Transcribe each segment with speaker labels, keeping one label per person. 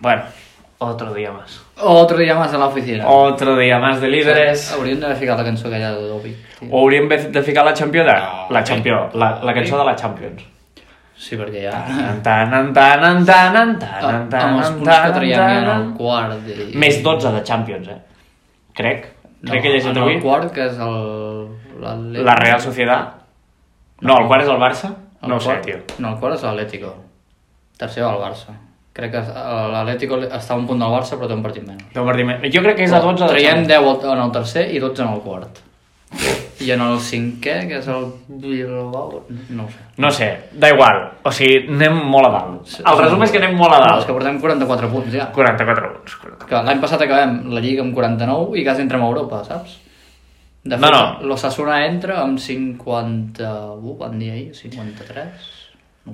Speaker 1: Bueno, otro día más.
Speaker 2: Otro día más a la oficina.
Speaker 1: Otro día más de líderes.
Speaker 2: Hauríem d'haver ficat la cançó aquella de Dobby.
Speaker 1: Ho hauríem de de ficar la Champions?
Speaker 2: No.
Speaker 1: La Champions, la, la cançó de la Champions.
Speaker 2: Sí, perquè ja...
Speaker 1: Tan, tan, tan, tan, tan, tan, tan, tan,
Speaker 2: Ah, Amb els
Speaker 1: tan,
Speaker 2: punts que
Speaker 1: tan,
Speaker 2: traiem ja en el
Speaker 1: tan.
Speaker 2: quart... I...
Speaker 1: Més 12 de Champions, eh? Crec. Crec que he llegit
Speaker 2: en
Speaker 1: avui.
Speaker 2: el quart, que és el... l'Atlético.
Speaker 1: La Real Sociedad. No, el quart és el Barça?
Speaker 2: El
Speaker 1: No ho sé,
Speaker 2: quart-
Speaker 1: tio.
Speaker 2: No, el quart és l'Atlético. Tercer va el Barça. Crec que eh, l'Atlético està a un punt del Barça, però té un partit menys.
Speaker 1: Deu partir més. Jo crec que és a 12 de
Speaker 2: Traiem
Speaker 1: Champions.
Speaker 2: 10 al- en el tercer i 12 en el quart. I en el cinquè, que és el Bilbao... No ho sé.
Speaker 1: No sé, da igual. O sigui, anem molt a dalt. El resum és que anem molt a
Speaker 2: No, és
Speaker 1: dalt.
Speaker 2: que portem 44 punts, ja.
Speaker 1: 44 punts. 44.
Speaker 2: Que l'any passat acabem la Lliga amb 49 i quasi entrem a Europa, saps? De
Speaker 1: No,
Speaker 2: fet,
Speaker 1: no.
Speaker 2: l'Ossassuna entra amb 51, van dir ahir, 53...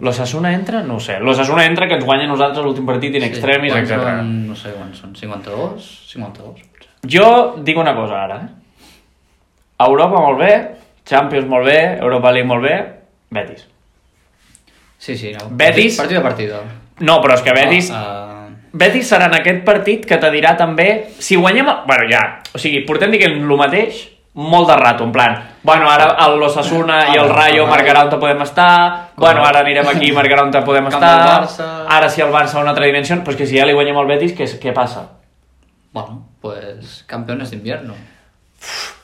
Speaker 1: L'Ossassuna entra? No ho sé. L'Ossassuna entra que ens guanya a nosaltres l'últim partit in extremis,
Speaker 2: quants
Speaker 1: etc.
Speaker 2: Són, no sé quants són, 52? 52, potser.
Speaker 1: Jo dic una cosa ara. eh? Europa molt bé, Champions molt bé, Europa League molt bé, Betis.
Speaker 2: Sí, sí, no.
Speaker 1: Betis?
Speaker 2: Partit a partido.
Speaker 1: No, però és que Betis...
Speaker 2: No, uh,
Speaker 1: Betis serà en aquest partit que te dirà també... Si guanyem... el- Bueno, ja. O sigui, portem dient el mateix molt de rato, en plan... Bueno, ara l'Ossassuna i el
Speaker 2: Ara,
Speaker 1: Rayo
Speaker 2: ara.
Speaker 1: marcarà on te podem estar... Bueno, ara anirem aquí i marcarà on te podem
Speaker 2: Camp
Speaker 1: estar...
Speaker 2: del Barça.
Speaker 1: Ara sí el Barça a una altra dimensió... Però és que si ja li guanyem al Betis, què, què passa?
Speaker 2: bueno, pues campeones de invierno.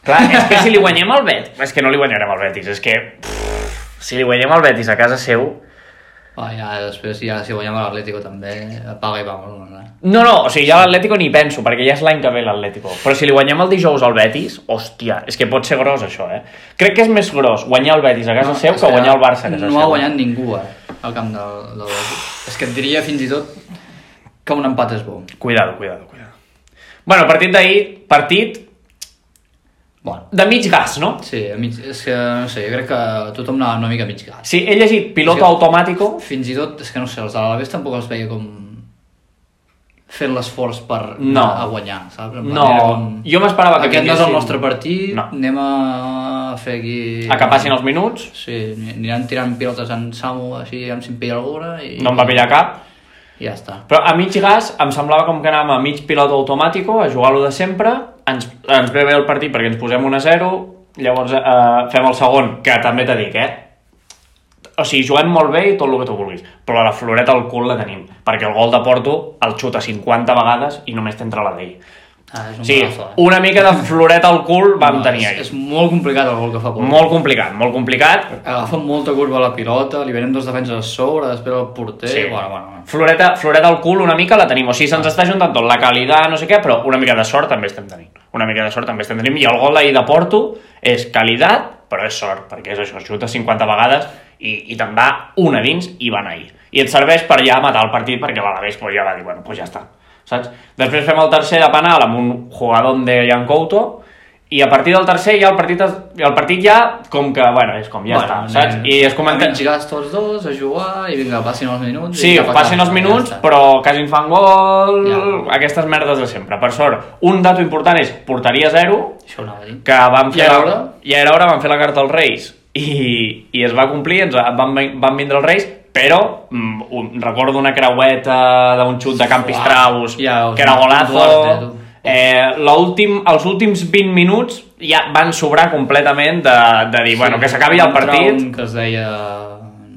Speaker 1: Clar, és que si li guanyem al Betis... És que no li guanyarem al Betis, és que... pff, Si li guanyem al Betis a casa seu...
Speaker 2: Ah, ja, després, ja, si guanyem l'Atlético també, apaga i vamos. Eh?
Speaker 1: No, no, o sigui, ja a l'Atlético ni penso, perquè ja és l'any que ve l'Atlético. Però si li guanyem el dijous al Betis, hòstia, és que pot ser gros això, eh? Crec que és més gros guanyar el Betis a casa seu que guanyar el Barça a casa
Speaker 2: No
Speaker 1: seu.
Speaker 2: ha guanyat ningú, eh, al camp del, del És que et diria fins i tot que un empat és bo.
Speaker 1: Cuidado, cuidado, cuidado. Bueno, partit d'ahir, partit
Speaker 2: Bueno,
Speaker 1: de mig gas, no?
Speaker 2: sí, a mig, és que, no sé, jo crec que tothom anava una mica mig gas.
Speaker 1: Sí, he llegit piloto
Speaker 2: Sí.
Speaker 1: automàtico.
Speaker 2: Fins i tot, és que no sé, els de l'Alaves tampoc els veia com fent l'esforç per
Speaker 1: No.
Speaker 2: anar a guanyar, saps? En plan,
Speaker 1: No,
Speaker 2: era com-
Speaker 1: jo m'esperava que
Speaker 2: Aquest no és el
Speaker 1: vinguessin-
Speaker 2: nostre partit,
Speaker 1: No.
Speaker 2: anem a fer aquí...
Speaker 1: A que passin els minuts,
Speaker 2: Sí, aniran tirant pilotes en Samu així, amb si em pilla alguna i...
Speaker 1: no em va pillar cap.
Speaker 2: I ja està.
Speaker 1: Però a mig gas em semblava com que anàvem a mig pilot automàtico, a jugar-lo de sempre, ens, ens ve bé el partit perquè ens posem 1-0, llavors eh, fem el segon, que també t'he dic, eh? O sigui, juguem molt bé i tot el que tu vulguis, però la floreta al cul la tenim, perquè el gol de Porto el xuta 50 vegades i només t'entra la d'ell.
Speaker 2: Ah, és
Speaker 1: O
Speaker 2: un
Speaker 1: sigui,
Speaker 2: golazo, eh?
Speaker 1: una mica de floreta al cul vam tenir
Speaker 2: És,
Speaker 1: ahir.
Speaker 2: és molt complicat el gol que fa Pol.
Speaker 1: Molt complicat, molt complicat.
Speaker 2: Agafa molta curva a la pilota, li venen dos defenses a sobre, després el porter...
Speaker 1: Sí.
Speaker 2: Bueno, bueno, bueno.
Speaker 1: Floreta, floreta al cul una mica la tenim, o sigui, se'ns està juntant tot, la qualitat, no sé què, però una mica de sort també estem tenint. Una mica de sort també estem tenint, i el gol d'ahir de Porto és qualitat, però és sort, perquè és això, xuta 50 vegades i, i te'n va una dins i van ahir. I et serveix per ja matar el partit, perquè l'Alavés pues, ja va dir, bueno, pues ja està, saps? Després fem el tercer de penal amb un jugador de Jan Couto, i a partir del tercer ja el partit, es, el partit ja com que, bueno, és com ja
Speaker 2: Bueno,
Speaker 1: està, saps?
Speaker 2: anem
Speaker 1: I es comenta...
Speaker 2: A mig gas tots dos, a jugar, i vinga, passin els minuts...
Speaker 1: Sí,
Speaker 2: i cap a
Speaker 1: passen
Speaker 2: casa,
Speaker 1: els
Speaker 2: i ja
Speaker 1: minuts,
Speaker 2: està.
Speaker 1: però quasi en fan gol...
Speaker 2: Ja.
Speaker 1: Aquestes merdes de sempre. Per sort, un dato important és porteria zero,
Speaker 2: Això ho anava a dir.
Speaker 1: que vam fer...
Speaker 2: Ja era
Speaker 1: la-
Speaker 2: hora?
Speaker 1: Ja era hora, vam fer la carta als Reis. I, i es va complir, ens van, ven- van vindre els Reis, però mm, un, recordo una creueta d'un xut de Campistraus,
Speaker 2: Ja, o
Speaker 1: que era
Speaker 2: sigui,
Speaker 1: golazo...
Speaker 2: Duarte, tu.
Speaker 1: Eh, l'últim, els últims 20 minuts ja van sobrar completament de, de dir, sí, bueno, que s'acabi el
Speaker 2: va entrar
Speaker 1: partit, un,
Speaker 2: Un que es deia...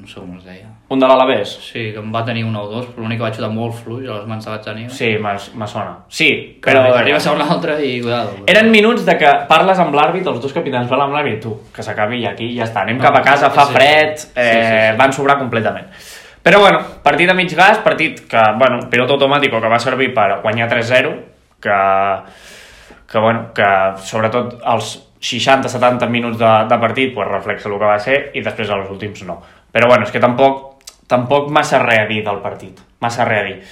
Speaker 2: No sé com es deia.
Speaker 1: un de l'Alavés.
Speaker 2: Sí, que en va tenir un o dos, però l'únic que va xutar molt fluix, a les mans se vaig tenir.
Speaker 1: Sí, me- me sona. Sí,
Speaker 2: però
Speaker 1: però...
Speaker 2: arriba a ser un altre i cuidado.
Speaker 1: Eren minuts de que parles amb l'àrbit, els dos capitans van amb l'àrbit, tu, que s'acabi i aquí ja està, anem cap a casa, fa
Speaker 2: Ah, Sí.
Speaker 1: fred,
Speaker 2: Sí, sí,
Speaker 1: eh,
Speaker 2: sí.
Speaker 1: van sobrar completament. Però bueno, partit a mig gas, partit que, bueno, pilot automàtic que va servir per guanyar 3-0, que, que, bueno, que sobretot els 60-70 minuts de, de partit pues, reflexa el que va ser i després els últims no. Però bueno, és que tampoc, tampoc massa res a dir del partit, massa res a dir.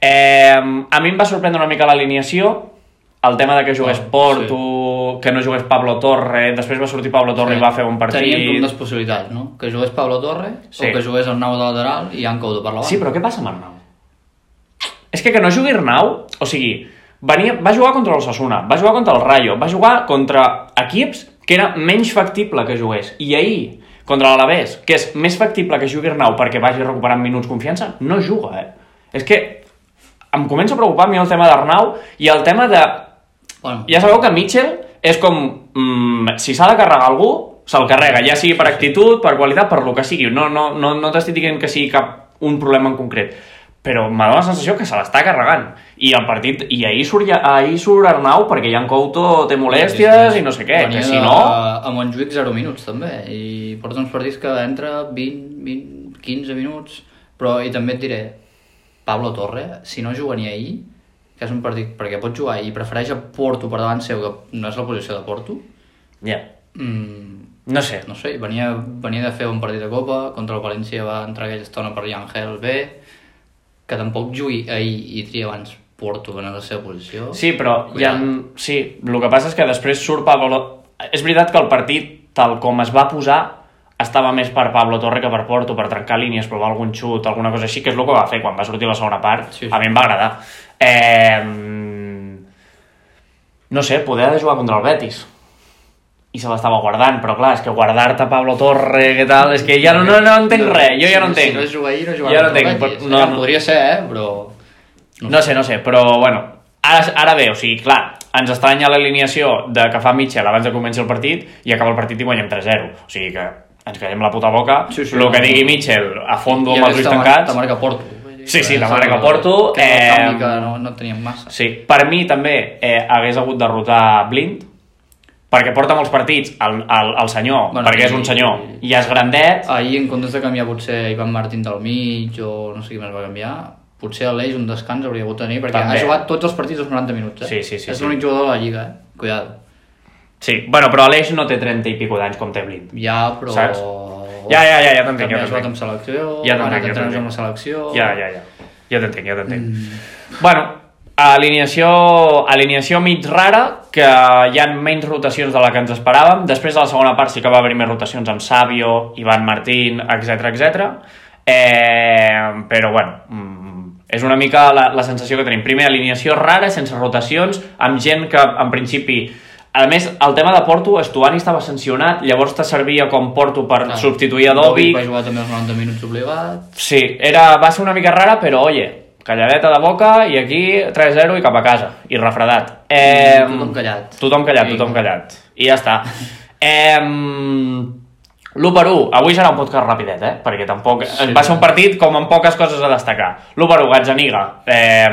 Speaker 1: Eh, a mi em va sorprendre una mica l'alineació, el tema de que jugués
Speaker 2: Ah,
Speaker 1: Porto, que no jugués Pablo Torre, després va sortir Pablo Torre i va fer un partit...
Speaker 2: Tenien com dues possibilitats, no? Que jugués Pablo Torre
Speaker 1: Sí.
Speaker 2: o que jugués el Nau de lateral i Jan Couto per la banda.
Speaker 1: Sí, però què passa amb Arnau? És que que no jugui Arnau, o sigui, venia, va jugar contra el Sassuna, va jugar contra el Rayo, va jugar contra equips que era menys factible que jugués. I ahir, contra l'Alavés, que és més factible que jugui Arnau perquè vagi recuperant minuts confiança, no juga, eh? És que em comença a preocupar a mi el tema d'Arnau i el tema de...
Speaker 2: Bueno,
Speaker 1: Ja sabeu que Mitchell és com... Mm, si s'ha de carregar algú, se'l carrega, ja sigui per actitud, per qualitat, per lo que sigui. No, no, no, no t'estic dient que sigui cap un problema en concret. Però me dóna la sensació que se l'està carregant. I el partit... I ahir surt, ja, ahir surt Arnau perquè Jan Couto té molèsties i no sé què.
Speaker 2: Venia
Speaker 1: Que si
Speaker 2: de-
Speaker 1: no...
Speaker 2: A Montjuïc 0 minuts, també. I porta uns partits que entra 20, 20, 15 minuts. Però, i també et diré, Pablo Torre, si no juga ni ahir, que és un partit perquè pot jugar i prefereix a Porto per davant seu, que no és la posició de Porto,
Speaker 1: Ja.
Speaker 2: mm,
Speaker 1: No sé.
Speaker 2: no sé, venia, venia de fer un partit de Copa, contra el València va entrar aquella estona per Angel B, que tampoc jugui ahir i tria abans Porto, que no és la seva posició.
Speaker 1: Sí, però hi ha...
Speaker 2: Cuida't.
Speaker 1: Sí, el que passa és que després surt Pablo... És veritat que el partit, tal com es va posar, estava més per Pablo Torre que per Porto, per trencar línies, provar algun xut, alguna cosa així, que és el que va fer quan va sortir la segona part.
Speaker 2: Sí,
Speaker 1: Sí,
Speaker 2: sí.
Speaker 1: sí. A mi em va agradar. Eh... No sé, poder ha de jugar contra el Betis. I se l'estava guardant, però clar, és que guardar-te Pablo Torre, què tal, és que ja no, no, no entenc res, jo ja no
Speaker 2: Si-
Speaker 1: entenc.
Speaker 2: Si no es juga ahir, no jugarà
Speaker 1: Jo no
Speaker 2: contra el
Speaker 1: entenc,
Speaker 2: Betis.
Speaker 1: però- no,
Speaker 2: Eh,
Speaker 1: no.
Speaker 2: Podria ser, eh, però...
Speaker 1: No sé, no sé, però bueno, ara, ara bé, o sigui, clar, ens estranya l'alineació de que fa Mitchell abans de començar el partit i acaba el partit i guanyem 3-0. O sigui que ens quedem la puta boca,
Speaker 2: Sí, sí,
Speaker 1: el
Speaker 2: no,
Speaker 1: que
Speaker 2: no.
Speaker 1: digui Mitchell a fondo
Speaker 2: I
Speaker 1: amb
Speaker 2: a
Speaker 1: els ulls
Speaker 2: més te mar-
Speaker 1: tancats...
Speaker 2: Te marca Porto.
Speaker 1: Sí, sí, te
Speaker 2: Que
Speaker 1: marca
Speaker 2: és
Speaker 1: Porto,
Speaker 2: Que és el
Speaker 1: eh,
Speaker 2: canvi que no, no teníem massa.
Speaker 1: Sí, per mi també eh, hagués hagut de rotar Blind, perquè porta molts partits el, el, el senyor,
Speaker 2: Bueno,
Speaker 1: bueno, perquè és
Speaker 2: i- Ah.
Speaker 1: un senyor, i és grandet,
Speaker 2: Ahir, en comptes de canviar potser Ivan Martín del mig o no sé qui més va canviar, potser a l'Eix un descans hauria hagut de tenir, perquè
Speaker 1: També.
Speaker 2: ha jugat tots els partits els 90 minuts, eh?
Speaker 1: Sí, sí, sí,
Speaker 2: És
Speaker 1: sí.
Speaker 2: l'únic jugador de la Lliga, eh? Cuidado.
Speaker 1: sí, bueno, però Aleix no té 30 i pico d'anys com té Blind.
Speaker 2: Ja, però...
Speaker 1: Saps? Ja, ja, ja, ja t'entenc,
Speaker 2: També
Speaker 1: ja
Speaker 2: ha jugat
Speaker 1: t'entenc.
Speaker 2: amb
Speaker 1: Ja
Speaker 2: selecció, ja
Speaker 1: t'entenc,
Speaker 2: ha
Speaker 1: ja
Speaker 2: anat
Speaker 1: t'entenc.
Speaker 2: entrenant amb la selecció...
Speaker 1: Ja, ja, ja. Ja t'entenc, ja t'entenc. Mm. Bueno, alineació, alineació mig rara, que hi ha menys rotacions de la que ens esperàvem. Després de la segona part sí que va haver més rotacions amb Sabio, Ivan Martín, etc etc. Eh, però bueno, mm, és una mica la, la sensació que tenim. Primer, alineació rara, sense rotacions, amb gent que en principi a més, el tema de Porto, Estuani estava sancionat, llavors te servia com Porto per
Speaker 2: Clar.
Speaker 1: substituir a Dobic,
Speaker 2: Va jugar també els 90 minuts obligat.
Speaker 1: Sí, era, va ser una mica rara, però oye, calladeta de boca i aquí 3-0 i cap a casa, i refredat. Eh,
Speaker 2: tothom callat.
Speaker 1: Tothom callat,
Speaker 2: Vinga.
Speaker 1: tothom callat. I ja està. Eh, L'1 per 1, avui serà un podcast rapidet, eh? perquè tampoc
Speaker 2: Sí.
Speaker 1: sí. va ser un partit com amb poques coses a destacar. L'1 per 1, Gazzaniga, eh,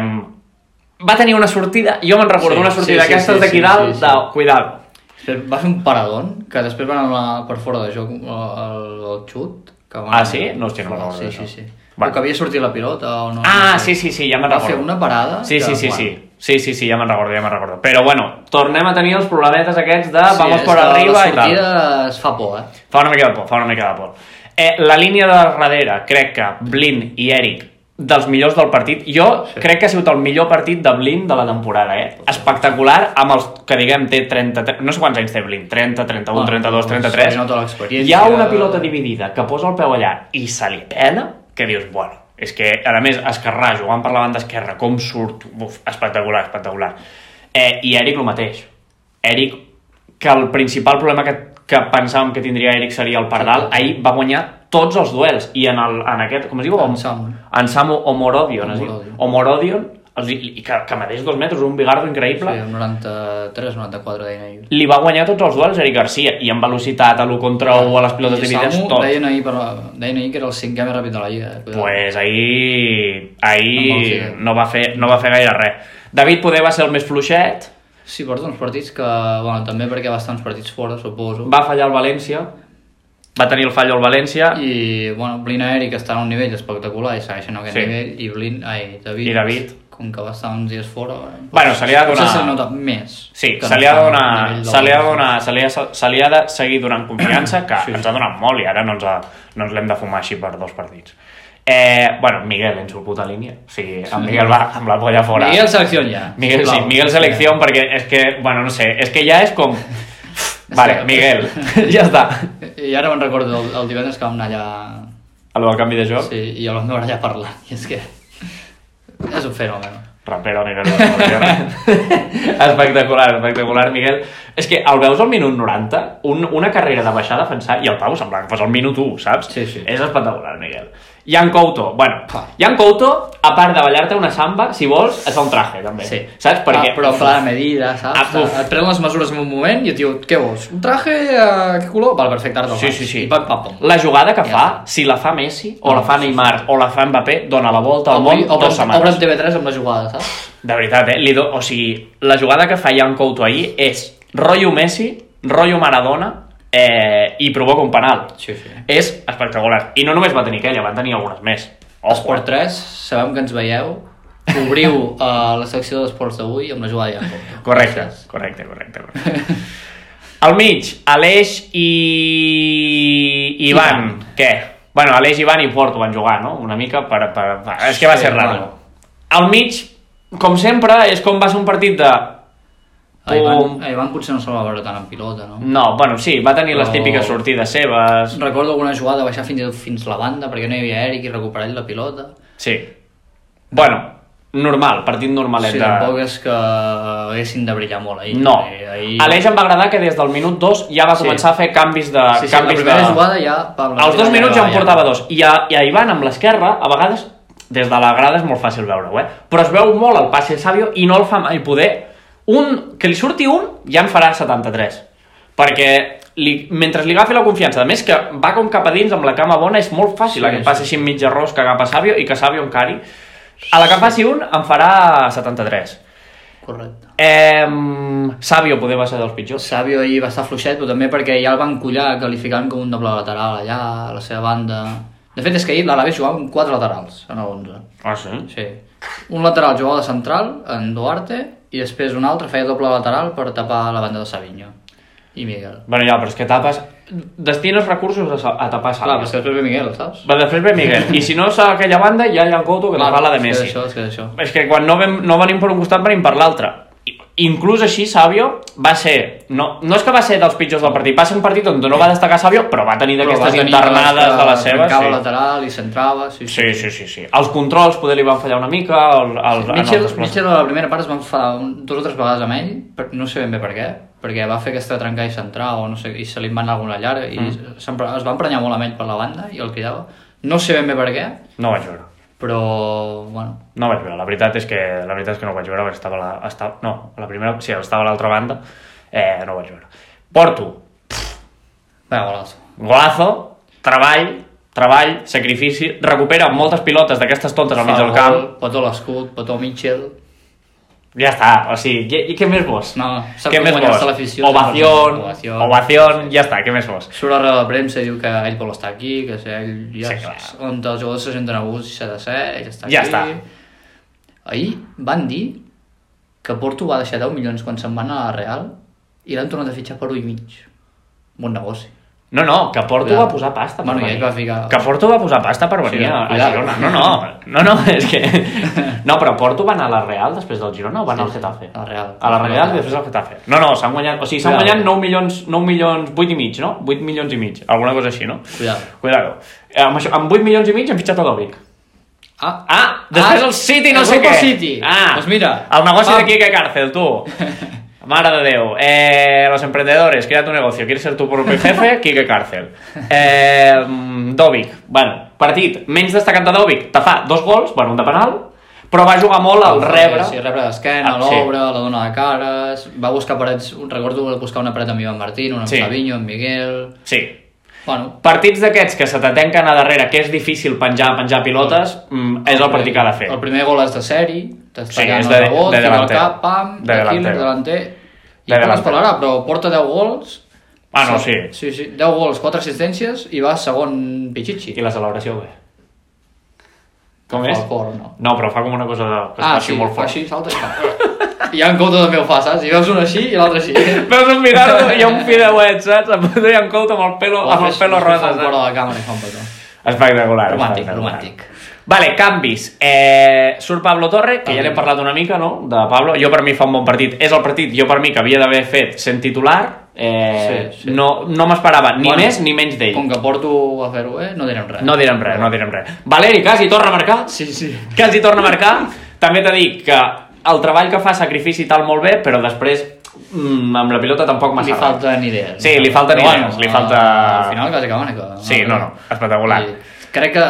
Speaker 1: va tenir una sortida, jo me'n recordo
Speaker 2: Sí,
Speaker 1: una sortida
Speaker 2: sí, sí,
Speaker 1: d'aquestes
Speaker 2: sí,
Speaker 1: d'aquí
Speaker 2: sí,
Speaker 1: dalt,
Speaker 2: sí, sí.
Speaker 1: de cuidado.
Speaker 2: Després Va fer un paradón, que després van anar per fora de joc eh, el, el xut. Que van
Speaker 1: Ah, sí? No, hòstia, no me'n recordo
Speaker 2: Sí,
Speaker 1: d'això.
Speaker 2: sí, sí.
Speaker 1: Va.
Speaker 2: Va. Que havia sortit la pilota o no.
Speaker 1: Ah,
Speaker 2: no
Speaker 1: sí, sí, sí, ja me'n
Speaker 2: Va
Speaker 1: recordo.
Speaker 2: fer una parada.
Speaker 1: Sí,
Speaker 2: que,
Speaker 1: sí, sí,
Speaker 2: bueno,
Speaker 1: sí. Sí, sí, sí, ja me'n recordo, ja me'n recordo. Però bueno, tornem a tenir els problemetes aquests de
Speaker 2: Sí,
Speaker 1: vamos
Speaker 2: és
Speaker 1: por
Speaker 2: que
Speaker 1: arriba
Speaker 2: la
Speaker 1: i tal.
Speaker 2: sortida es fa por, eh?
Speaker 1: Fa una mica de por, fa una mica de por. Eh, la línia de darrere, crec que Blin i Eric, dels millors del partit. Jo
Speaker 2: Sí.
Speaker 1: crec que ha sigut el millor partit de Blin de la temporada, eh? Espectacular, amb els que diguem té 30... No sé quants anys té Blin, 30, 31,
Speaker 2: Bueno,
Speaker 1: 32,
Speaker 2: se li nota
Speaker 1: 33.
Speaker 2: l'experiència.
Speaker 1: Hi ha una pilota dividida que posa el peu allà i se li pela, que dius, bueno, és que, a més, Esquerrà jugant per la banda esquerra, com surt, uf, espectacular, espectacular. Eh, I Eric el mateix. Eric, que el principal problema que, que pensàvem que tindria Eric seria el Pardal, ahir va guanyar tots els duels, i en, el, en aquest, com es diu?
Speaker 2: En Samu.
Speaker 1: En Samu Omorodion, es diu.
Speaker 2: Omorodion.
Speaker 1: Omorodion, els, i, i que, que medeix dos metres, un bigardo increïble,
Speaker 2: Sí, amb 93, 94 deien ahir.
Speaker 1: li va guanyar tots els duels Eric Garcia i amb velocitat, a l'1 contra 1, a les pilotes
Speaker 2: I
Speaker 1: dividides,
Speaker 2: Samu
Speaker 1: tot.
Speaker 2: deien ahir, per la, deien ahir que era el cinquè més ràpid de la Lliga. Eh? Cuidado.
Speaker 1: pues ahir,
Speaker 2: Amb el
Speaker 1: ahir
Speaker 2: Fidel.
Speaker 1: no, va fer, no va fer gaire res. David poder va ser el més fluixet,
Speaker 2: Sí, porta uns partits que... Bueno, també perquè va estar uns partits fora, suposo.
Speaker 1: va fallar el València, va tenir el fallo al València i,
Speaker 2: I, bueno, Blin i Eric estan a un nivell espectacular i segueixen a aquest
Speaker 1: Sí.
Speaker 2: sí. nivell, i Blin, ai, David,
Speaker 1: I David.
Speaker 2: com que va estar uns dies fora... eh,
Speaker 1: Bueno, se li ha de
Speaker 2: potser
Speaker 1: donar-
Speaker 2: Se li nota més.
Speaker 1: sí,
Speaker 2: que
Speaker 1: se
Speaker 2: no
Speaker 1: li ha de
Speaker 2: està
Speaker 1: donar,
Speaker 2: al nivell del-
Speaker 1: se li ha de donar, se li ha, se li ha de seguir donant confiança, que
Speaker 2: Sí.
Speaker 1: sí. ens ha donat molt i ara no ens, ha, no ens l'hem de fumar així per dos partits. Eh, bueno, Miguel en su puta línia. O sigui, en Miguel va amb la polla fora.
Speaker 2: Miguel Selecció ja.
Speaker 1: Miguel, sí,
Speaker 2: sisplau.
Speaker 1: Miguel Selección, perquè és que, bueno, no sé, és que ja és com... Vale,
Speaker 2: que-
Speaker 1: Miguel, ja està.
Speaker 2: I ara me'n recordo el, el divendres que vam anar allà...
Speaker 1: A lo del canvi de joc, sí.
Speaker 2: Sí, i el vam veure allà parlant, i és que... És un fenomen.
Speaker 1: rapero, negro, espectacular, espectacular, Miguel. És que el veus al minut 90, un, una carrera de baixar a defensar, i el Pau semblava que fos al minut 1, saps?
Speaker 2: Sí, sí.
Speaker 1: És espectacular, Miguel. Jan Couto, bueno,
Speaker 2: Pa.
Speaker 1: Jan Couto, a part de ballar-te una samba, si vols, et fa un traje, també.
Speaker 2: Sí.
Speaker 1: Saps? Perquè...
Speaker 2: Ah, però fa la medida, saps?
Speaker 1: Ah, uf.
Speaker 2: et pren les mesures en un moment i et diu, què vols? Un traje, uh, què color? Val, perfecte, ara te'l
Speaker 1: Sí,
Speaker 2: faig.
Speaker 1: sí, sí.
Speaker 2: I pam, pam, pam.
Speaker 1: La jugada que
Speaker 2: Ja
Speaker 1: fa, si la fa Messi, o la fa Neymar, o la fa Mbappé, dona la volta al món
Speaker 2: Avui
Speaker 1: dues
Speaker 2: obren,
Speaker 1: setmanes.
Speaker 2: obren TV3 amb la jugada, saps?
Speaker 1: De veritat, eh? Li do... O sigui, la jugada que fa Jan Couto ahir és rotllo Messi, rotllo Maradona, eh, i provoca un penal.
Speaker 2: Sí, sí.
Speaker 1: És espectacular. I no només va tenir aquella, van tenir algunes més. Ojo,
Speaker 2: Esport 3, sabem que ens veieu. Obriu uh, la secció d'esports d'avui amb la jugada de Jacob.
Speaker 1: Correcte, correcte, correcte. correcte. Al mig, Aleix i... Ivan.
Speaker 2: Ivan.
Speaker 1: Què? Bueno, Aleix, Ivan i Porto van jugar, no? Una mica per... per... per- És que va
Speaker 2: Sí,
Speaker 1: ser raro.
Speaker 2: bueno.
Speaker 1: Al mig, com sempre, és com va ser un partit de...
Speaker 2: A Ah, Ivan,
Speaker 1: Pum.
Speaker 2: a Ivan potser no se'l va veure tant en pilota, no?
Speaker 1: No, bueno, sí, va tenir les
Speaker 2: Però-
Speaker 1: típiques sortides seves...
Speaker 2: Recordo alguna jugada baixar fins, i tot fins la banda perquè no hi havia Eric i recuperar ell la pilota.
Speaker 1: Sí. Bueno, normal, partit normalet de...
Speaker 2: Sí, tampoc és que haguessin de brillar molt ahir.
Speaker 1: No.
Speaker 2: Eh, Ahir...
Speaker 1: Aleix em va agradar que des del minut 2 ja va
Speaker 2: Sí.
Speaker 1: començar a fer canvis de...
Speaker 2: sí, sí, la
Speaker 1: canvis
Speaker 2: primera
Speaker 1: de...
Speaker 2: jugada ja... Pam, la
Speaker 1: Als dos
Speaker 2: primera
Speaker 1: minuts ja en
Speaker 2: jugada
Speaker 1: portava dos. I a, i a Ivan, amb l'esquerra, a vegades, des de la grada és molt fàcil veure-ho, eh? Però es veu molt el passe Sabio i no el fa mai poder. Un, que li surti un, ja en farà 73. Perquè li, mentre li agafi la confiança, a més que va com cap a dins amb la cama bona, és molt fàcil
Speaker 2: Sí,
Speaker 1: sí, que
Speaker 2: sí.
Speaker 1: passi així mig arròs que agafa Sabio i que Sabio encari. A la que faci un, en farà 73.
Speaker 2: Correcte.
Speaker 1: Eh, Sabio poder va ser dels pitjors.
Speaker 2: Sabio ahir va estar fluixet, però també perquè ja el van collar qualificant com un doble lateral allà, a la seva banda... De fet, és que ahir l'Alaves jugava amb quatre laterals, en el 11.
Speaker 1: Ah, sí?
Speaker 2: Sí. Un lateral jugava de central, en Duarte, i després un altre feia doble lateral per tapar la banda de Savinho i Miguel.
Speaker 1: Bueno, ja, però és que tapes... Destines recursos a, sa- a tapar Sabio.
Speaker 2: Clar, però és que després ve Miguel, saps?
Speaker 1: Va, després ve Miguel. I si no és a aquella banda, ja hi ha el Couto que la fa la de
Speaker 2: és que
Speaker 1: Messi.
Speaker 2: Això, és que això.
Speaker 1: És que quan no, vem, no venim per un costat, venim per l'altre. I- Inclús així, Sabio va ser... No, no és que va ser dels pitjors del partit, va ser un partit on no va destacar Sabio, però va tenir
Speaker 2: Però va
Speaker 1: d'aquestes
Speaker 2: tenir
Speaker 1: internades
Speaker 2: que
Speaker 1: de les seves.
Speaker 2: Trencava
Speaker 1: Sí.
Speaker 2: lateral i centrava, sí, sí.
Speaker 1: Sí, sí, sí, sí. Els controls poder li van fallar una mica, el, el, en els
Speaker 2: Mitchell,
Speaker 1: desplaçaments.
Speaker 2: Mitchell a la primera part es va enfadar un, dues o tres vegades amb ell, per, no sé ben bé per què, perquè va fer aquesta trencar i centrar o no sé, i se li va anar alguna llarga i mm. es va emprenyar molt amb ell per la banda i el cridava. No sé ben bé per què,
Speaker 1: No vaig veure.
Speaker 2: però, bueno,
Speaker 1: No vaig veure, la veritat és que, la veritat és que no ho vaig veure, perquè estava, la, estava no, la primera, sí, estava a l'altra banda, eh, no ho vaig veure. Porto,
Speaker 2: va, golazo.
Speaker 1: Golazo, treball, treball, sacrifici, recupera moltes pilotes d'aquestes tontes al mig del
Speaker 2: Fa
Speaker 1: camp.
Speaker 2: gol, Petó a l'escut, petó a Mitchell...
Speaker 1: Ja està, o sigui, què, i què més vols?
Speaker 2: No, sap
Speaker 1: què
Speaker 2: com
Speaker 1: més
Speaker 2: guanyar-se
Speaker 1: vols?
Speaker 2: l'afició.
Speaker 1: Ovación,
Speaker 2: Ovación.
Speaker 1: ovación, ja està, què més vols?
Speaker 2: Surt a la premsa i diu que ell vol estar aquí, que si ell ja
Speaker 1: Sí, clar.
Speaker 2: és on els jugadors se senten a gust i s'ha de ser, ell està
Speaker 1: Ja
Speaker 2: aquí.
Speaker 1: està.
Speaker 2: Ahir van dir que Porto va deixar 10 milions quan se'n van a la Real i l'han tornat a fitxar per 1 i mig. Bon negoci.
Speaker 1: No, no, que Porto
Speaker 2: Cuidado.
Speaker 1: va posar pasta per
Speaker 2: Bueno, ja
Speaker 1: venir.
Speaker 2: hi va ficar-
Speaker 1: Que Porto va posar pasta per venir
Speaker 2: Sí,
Speaker 1: a, a
Speaker 2: cuidado.
Speaker 1: Girona. No, no, no, no, és que... No, però Porto va anar a la Real després del Girona o va anar al Getafe?
Speaker 2: a la Real.
Speaker 1: A la Real i després al Getafe. No, no, s'han guanyat... O sigui, s'han
Speaker 2: Cuidado.
Speaker 1: guanyat 9 milions, 9 milions, 8 i mig, no? 8 milions i mig, alguna cosa així, no?
Speaker 2: Cuidado.
Speaker 1: Cuidado. Eh, Amb, això, amb 8 milions i mig han fitxat el Dòvic.
Speaker 2: Ah,
Speaker 1: Ah, després
Speaker 2: Ah,
Speaker 1: el City, no
Speaker 2: el
Speaker 1: sé
Speaker 2: grupo
Speaker 1: què.
Speaker 2: City.
Speaker 1: Ah,
Speaker 2: Doncs mira,
Speaker 1: El negoci
Speaker 2: pam.
Speaker 1: de Quique Cárcel, tu. Mare de Déu. Eh, los emprendedores, crea tu negocio. Quieres ser tu propio jefe? Quique Cárcel. Eh, Dovic. Bueno, partit menys destacat de Dovic. Te fa dos gols, bueno, un de penal, però va jugar molt al rebre.
Speaker 2: Ah, Sí, rebre d'esquena,
Speaker 1: Ah, sí.
Speaker 2: l'obra, la dona de cares... Va buscar parets... Recordo buscar una paret amb Ivan Martín, una amb
Speaker 1: Sí.
Speaker 2: sí. Savinho, amb Miguel...
Speaker 1: Sí.
Speaker 2: Bueno,
Speaker 1: Partits d'aquests que se te tanquen a darrere, que és difícil penjar penjar pilotes, mm, és el partit que ha de fer.
Speaker 2: El primer gol és de seri, t'està
Speaker 1: Sí,
Speaker 2: sí,
Speaker 1: és
Speaker 2: el
Speaker 1: de-
Speaker 2: rebot,
Speaker 1: de
Speaker 2: de, el
Speaker 1: delanter.
Speaker 2: cap, pam,
Speaker 1: De
Speaker 2: de
Speaker 1: delanter.
Speaker 2: delanter. delanter. I
Speaker 1: De
Speaker 2: de
Speaker 1: delanter.
Speaker 2: es parlarà, però porta 10 gols.
Speaker 1: Ah, no, sí.
Speaker 2: Sí, sí, 10 gols, 4 assistències i va segon Pichichi.
Speaker 1: I la celebració, bé. Com
Speaker 2: Fa
Speaker 1: és?
Speaker 2: el cor, no?
Speaker 1: No, però fa com una cosa de... que es fa
Speaker 2: ah,
Speaker 1: així
Speaker 2: sí,
Speaker 1: molt
Speaker 2: fa
Speaker 1: fort.
Speaker 2: així, salta i fa. I en Couto també ho fa, saps? I veus un així i l'altre així.
Speaker 1: Veus un mirado i hi ha un fideuet, saps? Em deia en Couto amb el pelo, amb el
Speaker 2: Després
Speaker 1: pelo rosa,
Speaker 2: Fa un fora
Speaker 1: saps?
Speaker 2: de la càmera i fa un petó.
Speaker 1: Espectacular.
Speaker 2: Romàntic,
Speaker 1: espectacular.
Speaker 2: romàntic.
Speaker 1: Vale, canvis. Eh, surt Pablo Torre, que ja n'hem parlat una mica, no?, de Pablo. Jo per mi fa un bon partit. És el partit, jo per mi, que havia d'haver fet sent titular. Eh,
Speaker 2: Sí, sí.
Speaker 1: No, no m'esperava ni
Speaker 2: Bueno,
Speaker 1: més ni menys d'ell.
Speaker 2: Com que porto a fer-ho, eh? No direm res.
Speaker 1: No direm res, no direm res. Valeri, quasi torna a marcar.
Speaker 2: Sí, sí.
Speaker 1: Quasi torna a marcar. També t'he dit que el treball que fa sacrifici i tal molt bé, però després mm, amb la pilota tampoc m'ha
Speaker 2: Li
Speaker 1: salvat.
Speaker 2: falten idees.
Speaker 1: Sí, li falten
Speaker 2: Però
Speaker 1: idees, li falta-
Speaker 2: Al final quasi que van acabar.
Speaker 1: Sí, no, no, espectacular.
Speaker 2: I Crec que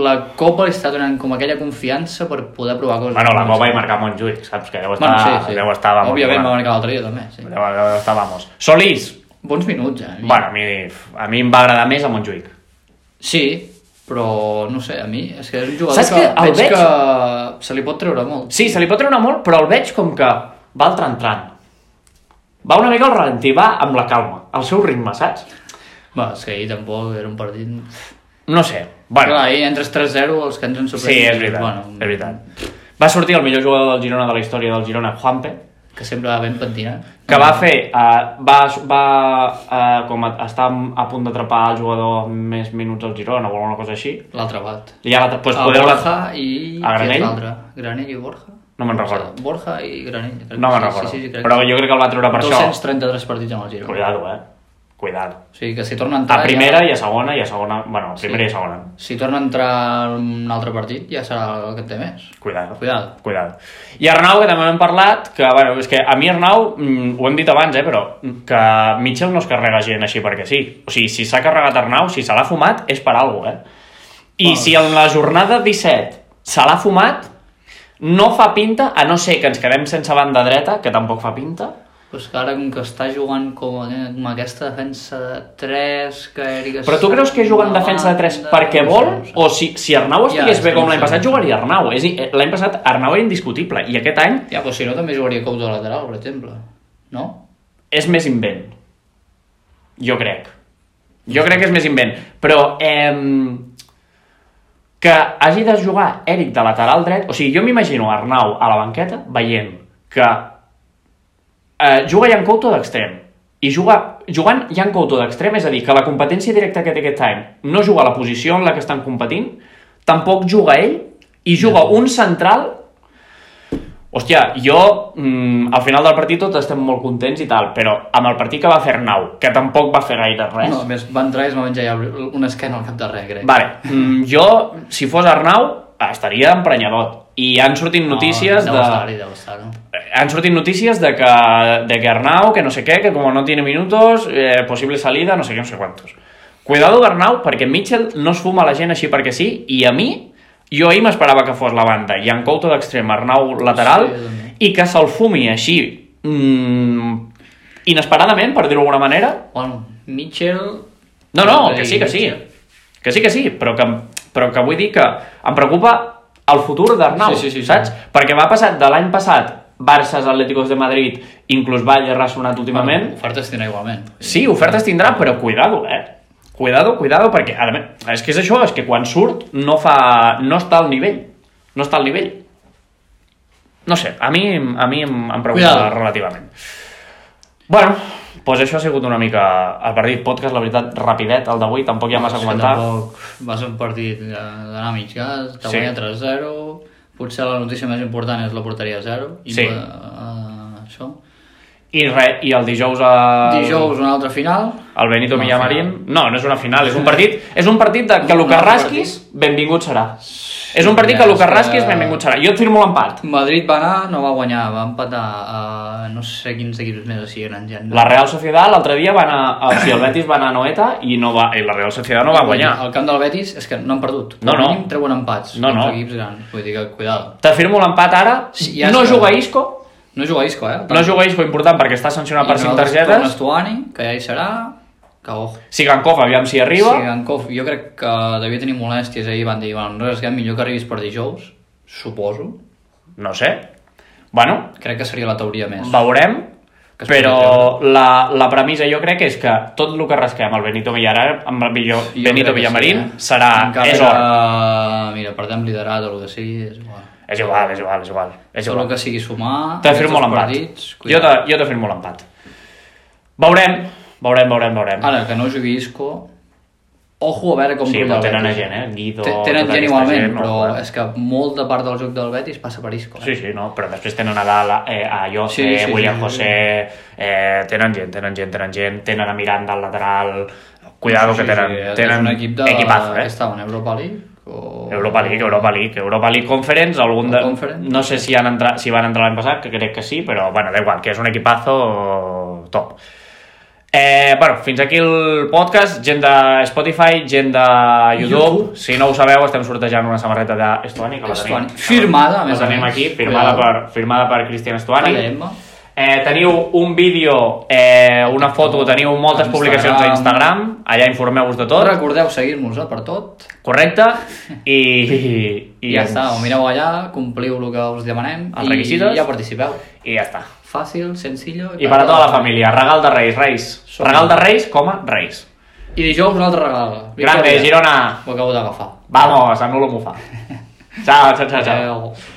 Speaker 2: la Copa li està donant com aquella confiança per poder provar coses.
Speaker 1: Bueno, la Copa hi marcar Montjuïc, saps? Que deu estar...
Speaker 2: Bueno, sí, sí.
Speaker 1: Deu estar, vamos,
Speaker 2: Òbviament va
Speaker 1: bueno,
Speaker 2: marcar l'altre dia, també. Sí.
Speaker 1: deu, deu estar, vamos. Solís!
Speaker 2: Bons minuts, eh?
Speaker 1: Bueno, a mi, a mi em va agradar més a Montjuïc.
Speaker 2: Sí, però no sé, a mi és que és un jugador
Speaker 1: Saps
Speaker 2: que,
Speaker 1: que el
Speaker 2: veig,
Speaker 1: veig-
Speaker 2: que se li pot treure molt.
Speaker 1: Sí, se li pot treure molt, però el veig com que va al tran-tran. Va una mica al ralentí, va amb la calma, al seu ritme, saps?
Speaker 2: Va, és que ahir tampoc era un partit...
Speaker 1: No sé.
Speaker 2: Bueno.
Speaker 1: Bueno,
Speaker 2: Clar, ahir entres 3-0, els que ens han sorprès...
Speaker 1: sí, és veritat, bueno, és veritat. Va sortir el millor jugador del Girona de la història del Girona, Juanpe,
Speaker 2: Que sempre va ben pentinat.
Speaker 1: que va fer, uh, va, va uh, com a, està a punt d'atrapar el jugador amb més minuts al Girona o alguna cosa així.
Speaker 2: L'altre bat.
Speaker 1: I ara, pues,
Speaker 2: A
Speaker 1: podeu...
Speaker 2: Borja i...
Speaker 1: A Granell?
Speaker 2: Qui és l'altre? Granell i Borja?
Speaker 1: No me'n recordo.
Speaker 2: Borja i Granell. crec
Speaker 1: No
Speaker 2: que
Speaker 1: me'n
Speaker 2: sí,
Speaker 1: recordo.
Speaker 2: Sí, sí, crec
Speaker 1: Però
Speaker 2: que sí.
Speaker 1: jo crec que el va treure per això.
Speaker 2: 233 partits amb el Girona.
Speaker 1: Cuidado, eh? Cuidado.
Speaker 2: O sigui que si torna a entrar...
Speaker 1: A primera i a segona i a segona... Bueno, a primera i a segona.
Speaker 2: Ja, si torna a entrar en un altre partit ja serà el que en té més.
Speaker 1: Cuidado.
Speaker 2: Cuidado.
Speaker 1: Cuidado. I Arnau, que també n'hem parlat, que, bueno, és que a mi Arnau, mm, ho hem dit abans, eh, però que Mitchell no es carrega gent així perquè sí. O sigui, si s'ha carregat Arnau, si se l'ha fumat, és per alguna cosa, eh? I si en la jornada 17 se l'ha fumat, no fa pinta, a no ser que ens quedem sense banda dreta, que tampoc fa pinta,
Speaker 2: Però és que ara com que està jugant com, a- com aquesta defensa de 3, que Eric...
Speaker 1: Però tu creus que juga en defensa de 3 perquè vol? O si, si Arnau estigués
Speaker 2: és
Speaker 1: bé
Speaker 2: que
Speaker 1: com
Speaker 2: no
Speaker 1: l'any
Speaker 2: sé.
Speaker 1: passat, jugaria Arnau. eh? És a dir, L'any passat Arnau era indiscutible i aquest any
Speaker 2: Ja, però si no també jugaria Couto de lateral, per exemple. No?
Speaker 1: és més invent. Jo crec. Jo crec que és més invent. Però eh, que hagi de jugar Eric de lateral dret... O sigui, jo m'imagino Arnau a la banqueta veient que eh, juga Jan Couto d'extrem i juga, jugant Jan Couto d'extrem, és a dir, que la competència directa que té aquest any no juga a la posició en la que estan competint, tampoc juga ell i juga un central Hòstia, jo mm, al final del partit tots estem molt contents i tal, però amb el partit que va fer Arnau, que tampoc va fer gaire res,
Speaker 2: No, a més, va entrar i es va menjar ja una esquena al cap de res, crec.
Speaker 1: Vale, mm, jo, si fos Arnau, estaria emprenyadot. I han sortit notícies
Speaker 2: no,
Speaker 1: de...
Speaker 2: Deu estar-hi, deu estar, no?
Speaker 1: Han sortit notícies de que, de que Arnau, que no sé què, que com no tiene minutos, eh, possible salida, no sé què, no sé quantos. Cuidado d'Arnau, perquè Mitchell no es fuma la gent així perquè sí, i a mi, jo ahir m'esperava que fos la banda, i en Couto d'extrem, Arnau lateral,
Speaker 2: Sí, també.
Speaker 1: i que se'l fumi així, mm, inesperadament, per dir-ho d'alguna manera,
Speaker 2: Bueno, Mitchell...
Speaker 1: no, no,
Speaker 2: Andre
Speaker 1: que
Speaker 2: i
Speaker 1: sí, que sí.
Speaker 2: Mitchell.
Speaker 1: Que sí, que sí, però que, però que vull dir que em preocupa el futur d'Arnau,
Speaker 2: Sí, sí, sí, sí.
Speaker 1: saps? Perquè m'ha passat de l'any passat Barças, Atléticos de Madrid, inclús Valle ha sonat últimament.
Speaker 2: Bueno, Ofertes tindrà igualment.
Speaker 1: Sí, ofertes tindrà, però cuidado, eh? Cuidado, cuidado, perquè a més, és que és això, és que quan surt no fa... no està al nivell. No està al nivell. No sé, a mi, a mi em, em preocupa
Speaker 2: Cuidado.
Speaker 1: relativament. Bueno, doncs això ha sigut una mica el partit podcast, la veritat, rapidet, el d'avui, tampoc hi ha massa a
Speaker 2: És que
Speaker 1: comentar.
Speaker 2: Tampoc va ser un partit de- d'anar a mig gas, de
Speaker 1: Sí.
Speaker 2: guanyar 3-0, potser la notícia més important és la porteria 0, i
Speaker 1: Sí.
Speaker 2: no, eh, això.
Speaker 1: I re, i el dijous a...
Speaker 2: Dijous una altra final,
Speaker 1: El Benito
Speaker 2: Una
Speaker 1: Millamarín... No, no és una final, és un partit, és un partit de que el
Speaker 2: Un
Speaker 1: que
Speaker 2: altre
Speaker 1: rasquis, benvingut serà. És un partit
Speaker 2: ja,
Speaker 1: que el
Speaker 2: és
Speaker 1: que
Speaker 2: que-
Speaker 1: rasquis, benvingut serà. Jo et firmo l'empat.
Speaker 2: Madrid va anar, no va guanyar, va empatar a no sé quins equips més així grans ja.
Speaker 1: La Real Sociedad l'altre dia va anar... O sigui, el Betis va anar a Noeta i, no va, i la Real Sociedad no va guanyar.
Speaker 2: El camp del Betis és que no han perdut.
Speaker 1: No, no.
Speaker 2: Com a mínim treuen empats
Speaker 1: No,
Speaker 2: contra
Speaker 1: no.
Speaker 2: equips grans. Vull dir que, cuidado.
Speaker 1: T'afirmo l'empat ara.
Speaker 2: Sí, ja
Speaker 1: no
Speaker 2: està.
Speaker 1: juga Isco.
Speaker 2: No juga Isco, eh?
Speaker 1: No juga Isco, important, perquè està sancionat per 5 targetes.
Speaker 2: Tornes que ja hi serà. Que ojo.
Speaker 1: Sigankov, aviam si arriba.
Speaker 2: Sí, Gankov, jo crec que devia tenir molèsties ahir, van dir, bueno, res, que millor que arribis per dijous, suposo.
Speaker 1: No sé. Bueno,
Speaker 2: Crec que seria la teoria més.
Speaker 1: veurem
Speaker 2: Que es
Speaker 1: però la, la premissa jo crec és que tot el que rasquem el Benito Villar amb el millor,
Speaker 2: Jo
Speaker 1: Benito
Speaker 2: crec que
Speaker 1: Villamarín
Speaker 2: eh?
Speaker 1: serà,
Speaker 2: Encara
Speaker 1: és
Speaker 2: que,
Speaker 1: or
Speaker 2: Mira, per tant, liderat o el que sigui, és igual.
Speaker 1: és igual, és igual, és igual, és
Speaker 2: Tot el
Speaker 1: igual.
Speaker 2: que sigui sumar...
Speaker 1: t'he fet
Speaker 2: aquests
Speaker 1: molt
Speaker 2: dos
Speaker 1: l'empat
Speaker 2: partits,
Speaker 1: jo
Speaker 2: cuidado.
Speaker 1: t'he jo t'he fet molt l'empat veurem, veurem, veurem, veurem
Speaker 2: Ara, que no jugui Isco... Ojo a veure com...
Speaker 1: sí,
Speaker 2: brilla
Speaker 1: però
Speaker 2: el
Speaker 1: tenen
Speaker 2: Betis.
Speaker 1: gent, eh? Guido,
Speaker 2: Té-
Speaker 1: tota
Speaker 2: Tenen gent
Speaker 1: aquesta
Speaker 2: igualment,
Speaker 1: no?
Speaker 2: però
Speaker 1: Clar.
Speaker 2: és que molt de part del joc del Betis passa per Isco.
Speaker 1: Sí,
Speaker 2: Eh?
Speaker 1: sí, no, però després tenen a Dala, eh, a Jose, sí, sí, William sí,
Speaker 2: sí.
Speaker 1: José, eh, tenen gent, tenen gent, tenen gent, tenen a Miranda al lateral, cuidado que tenen,
Speaker 2: és
Speaker 1: tenen
Speaker 2: un equip de...
Speaker 1: equipazo, eh?
Speaker 2: Que estava en Europa League o...
Speaker 1: Europa League, Europa League, Europa League Conference, algun de...
Speaker 2: Conference.
Speaker 1: no sé si, han entrat, si van entrar l'any passat, que crec que sí, però bueno, da igual, que és un equipazo top. Eh, bueno, fins aquí el podcast, gent de Spotify, gent de YouTube.
Speaker 2: YouTube.
Speaker 1: Si no ho sabeu, estem sortejant una samarreta d'Estuani, que la tenim.
Speaker 2: Estuani. Firmada, a més
Speaker 1: la
Speaker 2: a
Speaker 1: tenim
Speaker 2: més.
Speaker 1: aquí, firmada per,
Speaker 2: Cuidado.
Speaker 1: firmada per Cristian Estuani.
Speaker 2: Tallarem-me.
Speaker 1: Eh, teniu un vídeo, eh, una foto, teniu moltes
Speaker 2: Instagram.
Speaker 1: publicacions a Instagram, allà informeu-vos de tot,
Speaker 2: Recordeu seguir-nos eh, per tot.
Speaker 1: correcte? I, i,
Speaker 2: I ja està, ho mireu allà, compliu el que us demanem
Speaker 1: Els
Speaker 2: i
Speaker 1: requisites.
Speaker 2: ja participeu.
Speaker 1: I ja està.
Speaker 2: Fàcil, senzill...
Speaker 1: I per a tota la família, regal de Reis, Reis.
Speaker 2: Som-
Speaker 1: Regal de Reis, coma, Reis.
Speaker 2: I dijous un altre regal.
Speaker 1: Grande,
Speaker 2: Victòria.
Speaker 1: Girona.
Speaker 2: Ho acabo d'agafar.
Speaker 1: Vamos, anulo Mufa. Chao, chao, chao, chao.
Speaker 2: Adeu.